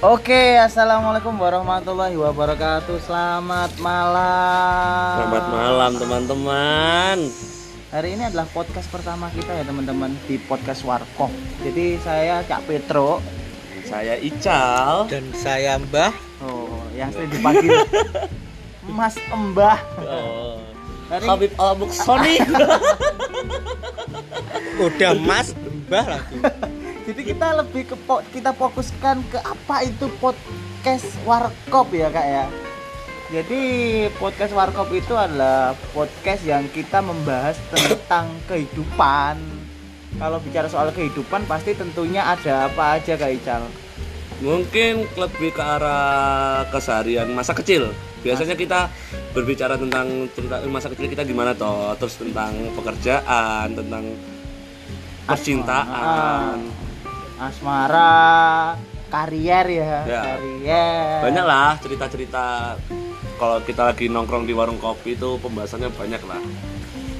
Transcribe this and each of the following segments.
Oke, assalamualaikum warahmatullahi wabarakatuh. Selamat malam. Selamat malam teman-teman. Hari ini adalah podcast pertama kita ya teman-teman di podcast Warkop. Jadi saya Cak Petro. Saya Ical. dan saya Mbah Oh, yang sering dipanggil Mas Embah. Oh. Hari Habib Al Muksoni. udah Mas Mbah lagi jadi kita lebih ke po- kita fokuskan ke apa itu podcast warkop ya kak ya jadi podcast warkop itu adalah podcast yang kita membahas tentang kehidupan kalau bicara soal kehidupan pasti tentunya ada apa aja kak Ical Mungkin lebih ke arah keseharian masa kecil. Biasanya kita berbicara tentang cerita masa kecil kita gimana toh, terus tentang pekerjaan, tentang Ah. percintaan. asmara karier ya, Ya. karier Banyak lah cerita-cerita kalau kita lagi nongkrong di warung kopi itu pembahasannya banyak lah.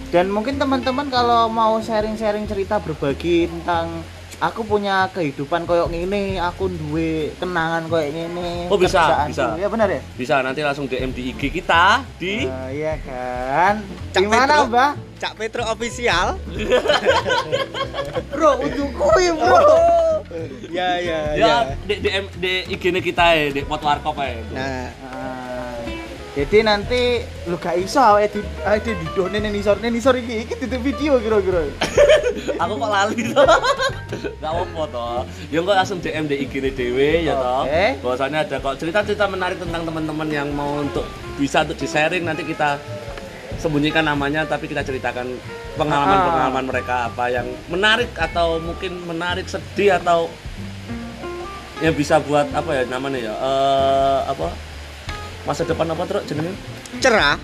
Dan mungkin teman-teman kalau mau sharing-sharing cerita berbagi tentang aku punya kehidupan koyok ngene, aku duwe kenangan koyok ngene. Oh, bisa, kerjaanku. bisa. Ya benar ya? Bisa nanti langsung DM di IG kita di Eh, iya kan. Cak Gimana, Petro. Mbah? Cak Petro official Bro, untukku ya, Bro. ya ya Eh, ya ya di DM di IG-nya kita ya, di pot warkop ya. nah Ah, jadi nanti lu gak iso awake di awake di done ning isor ning isor iki iki tutup video kira-kira. aku kok lali toh nggak apa toh ya kok langsung DM di IG ini dewe ya toh Oke. bahwasannya ada kok cerita-cerita menarik tentang teman-teman yang mau untuk bisa untuk di sharing nanti kita sembunyikan namanya tapi kita ceritakan pengalaman-pengalaman mereka apa yang menarik atau mungkin menarik sedih atau yang bisa buat apa ya namanya ya eh, apa masa depan apa terus jenenge cerah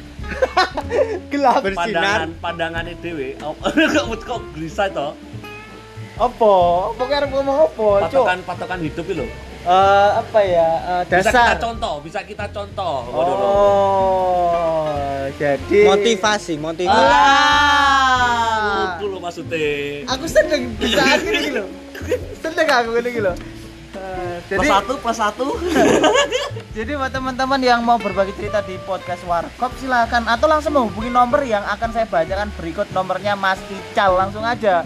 Gelap bersinar pandangan pandangannya dewe kok kok gelisah toh apa? Apa karep ngomong apa, Cuk? patokan patokan hidup itu loh Eh, apa ya? Eh, bisa kita dasar. contoh bisa kita contoh Waduh, loh. Oh, jadi motivasi motivasi Ah, Ah, aku loh maksudnya aku seneng bisa gini loh. Seneng aku gini loh. Eh, plus Jadi, satu plus satu jadi buat teman-teman yang mau berbagi cerita di podcast Warkop silakan atau langsung menghubungi nomor yang akan saya bacakan berikut nomornya Mas Ical langsung aja.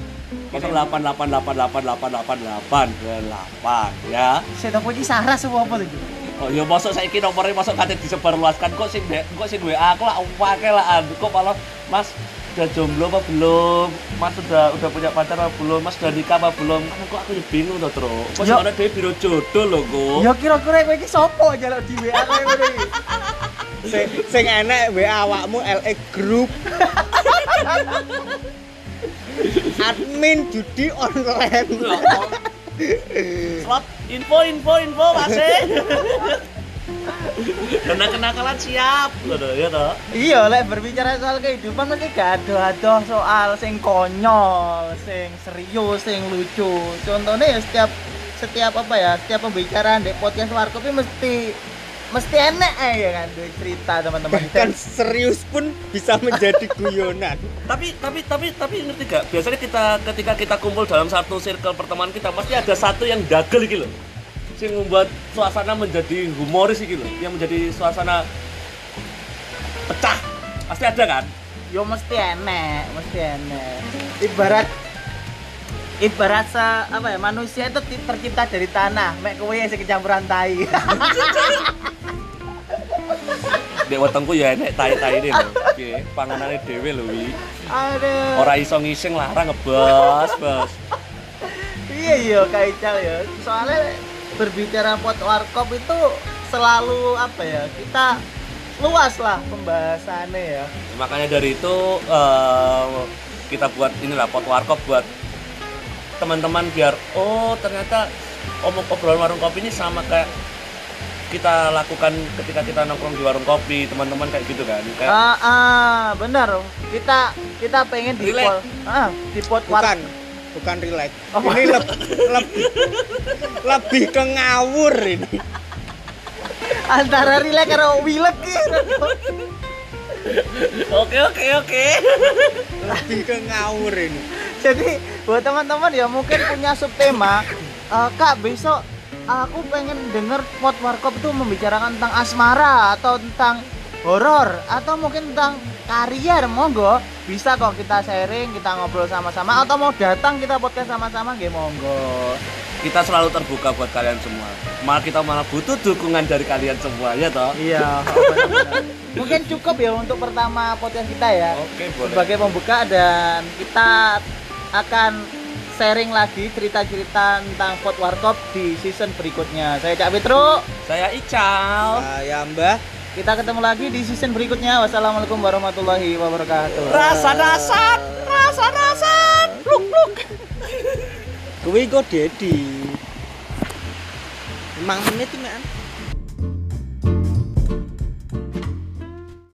delapan delapan delapan delapan delapan delapan delapan delapan ya Saya tahu ini Sarah semua apa tuh? oh ya masuk saya kira nomornya masuk kate disebarluaskan kok sih kok sih gue aku lah pakai lah aduh, kok malah mas udah jomblo apa belum mas udah udah punya pacar apa belum mas udah nikah apa belum Aduh, kok aku bingung tuh terus kok Yo. soalnya dia biro jodoh loh kok Ya kira-kira kowe iki sapa njaluk di WA kowe ngono iki? sing, sing enek WA awakmu LE group admin judi online Ya Slot info info info E. masih. Kena kenakalan siap, loh ya toh. Iya, lek berbicara soal kehidupan mesti gaduh-gaduh soal sing konyol, sing serius, sing lucu. Contohnya ya setiap setiap apa ya, setiap pembicaraan di podcast Warkop ini mesti mesti enak eh, ya kan duit cerita teman-teman. bahkan serius pun bisa menjadi guyonan Tapi tapi tapi tapi ngerti gak? Biasanya kita ketika kita kumpul dalam satu circle pertemanan kita pasti ada satu yang dagel gitu loh. Sing membuat suasana menjadi humoris gitu loh, yang menjadi suasana pecah. Pasti ada kan? Yo mesti enak, mesti enak. Ibarat ibarat se, apa ya manusia itu ti- tercipta dari tanah, mek kowe sing kecampuran tai. Dek wetengku ya enek tai-tai ini loh. Oke, panganannya dhewe lho wi. Aduh. Ora iso ngising larang ngebas, Bos. Iya iya Kak Ical ya. Soalnya berbicara pot warkop itu selalu apa ya? Kita luas lah pembahasannya ya. makanya dari itu eh, kita buat inilah pot warkop buat teman-teman biar oh ternyata omong obrolan warung kopi ini sama kayak kita lakukan ketika kita nongkrong di warung kopi teman-teman kayak gitu kan kayak Ah, ah, benar. Kita kita pengen di Relate. pot ah, di pot bukan warkop. bukan relax Oh. ini leb- lebih lebih ke ngawur ini antara relate karo wilet ki. oke oke oke lebih ke ngawur ini Jadi buat teman-teman ya mungkin punya subtema eh, Kak besok aku pengen denger pot warkop itu membicarakan tentang asmara atau tentang horor atau mungkin tentang karier monggo bisa kok kita sharing kita ngobrol sama-sama atau mau datang kita podcast sama-sama nggih monggo Oh, Kita selalu terbuka buat kalian semua. Malah kita malah butuh dukungan dari kalian semua ya toh. iya benar-benar. mungkin cukup ya untuk pertama podcast kita ya Oke, boleh. sebagai pembuka dan kita akan sharing lagi cerita-cerita tentang pot warkop di season berikutnya saya Cak Petro Saya Ical. Saya Ah, ya, Mbah Kita ketemu lagi di season berikutnya. Wassalamualaikum warahmatullahi wabarakatuh. rasa dasar, rasa dasar. Luk luk. Kuwi kok Dedi. Mang menit iki, Mak.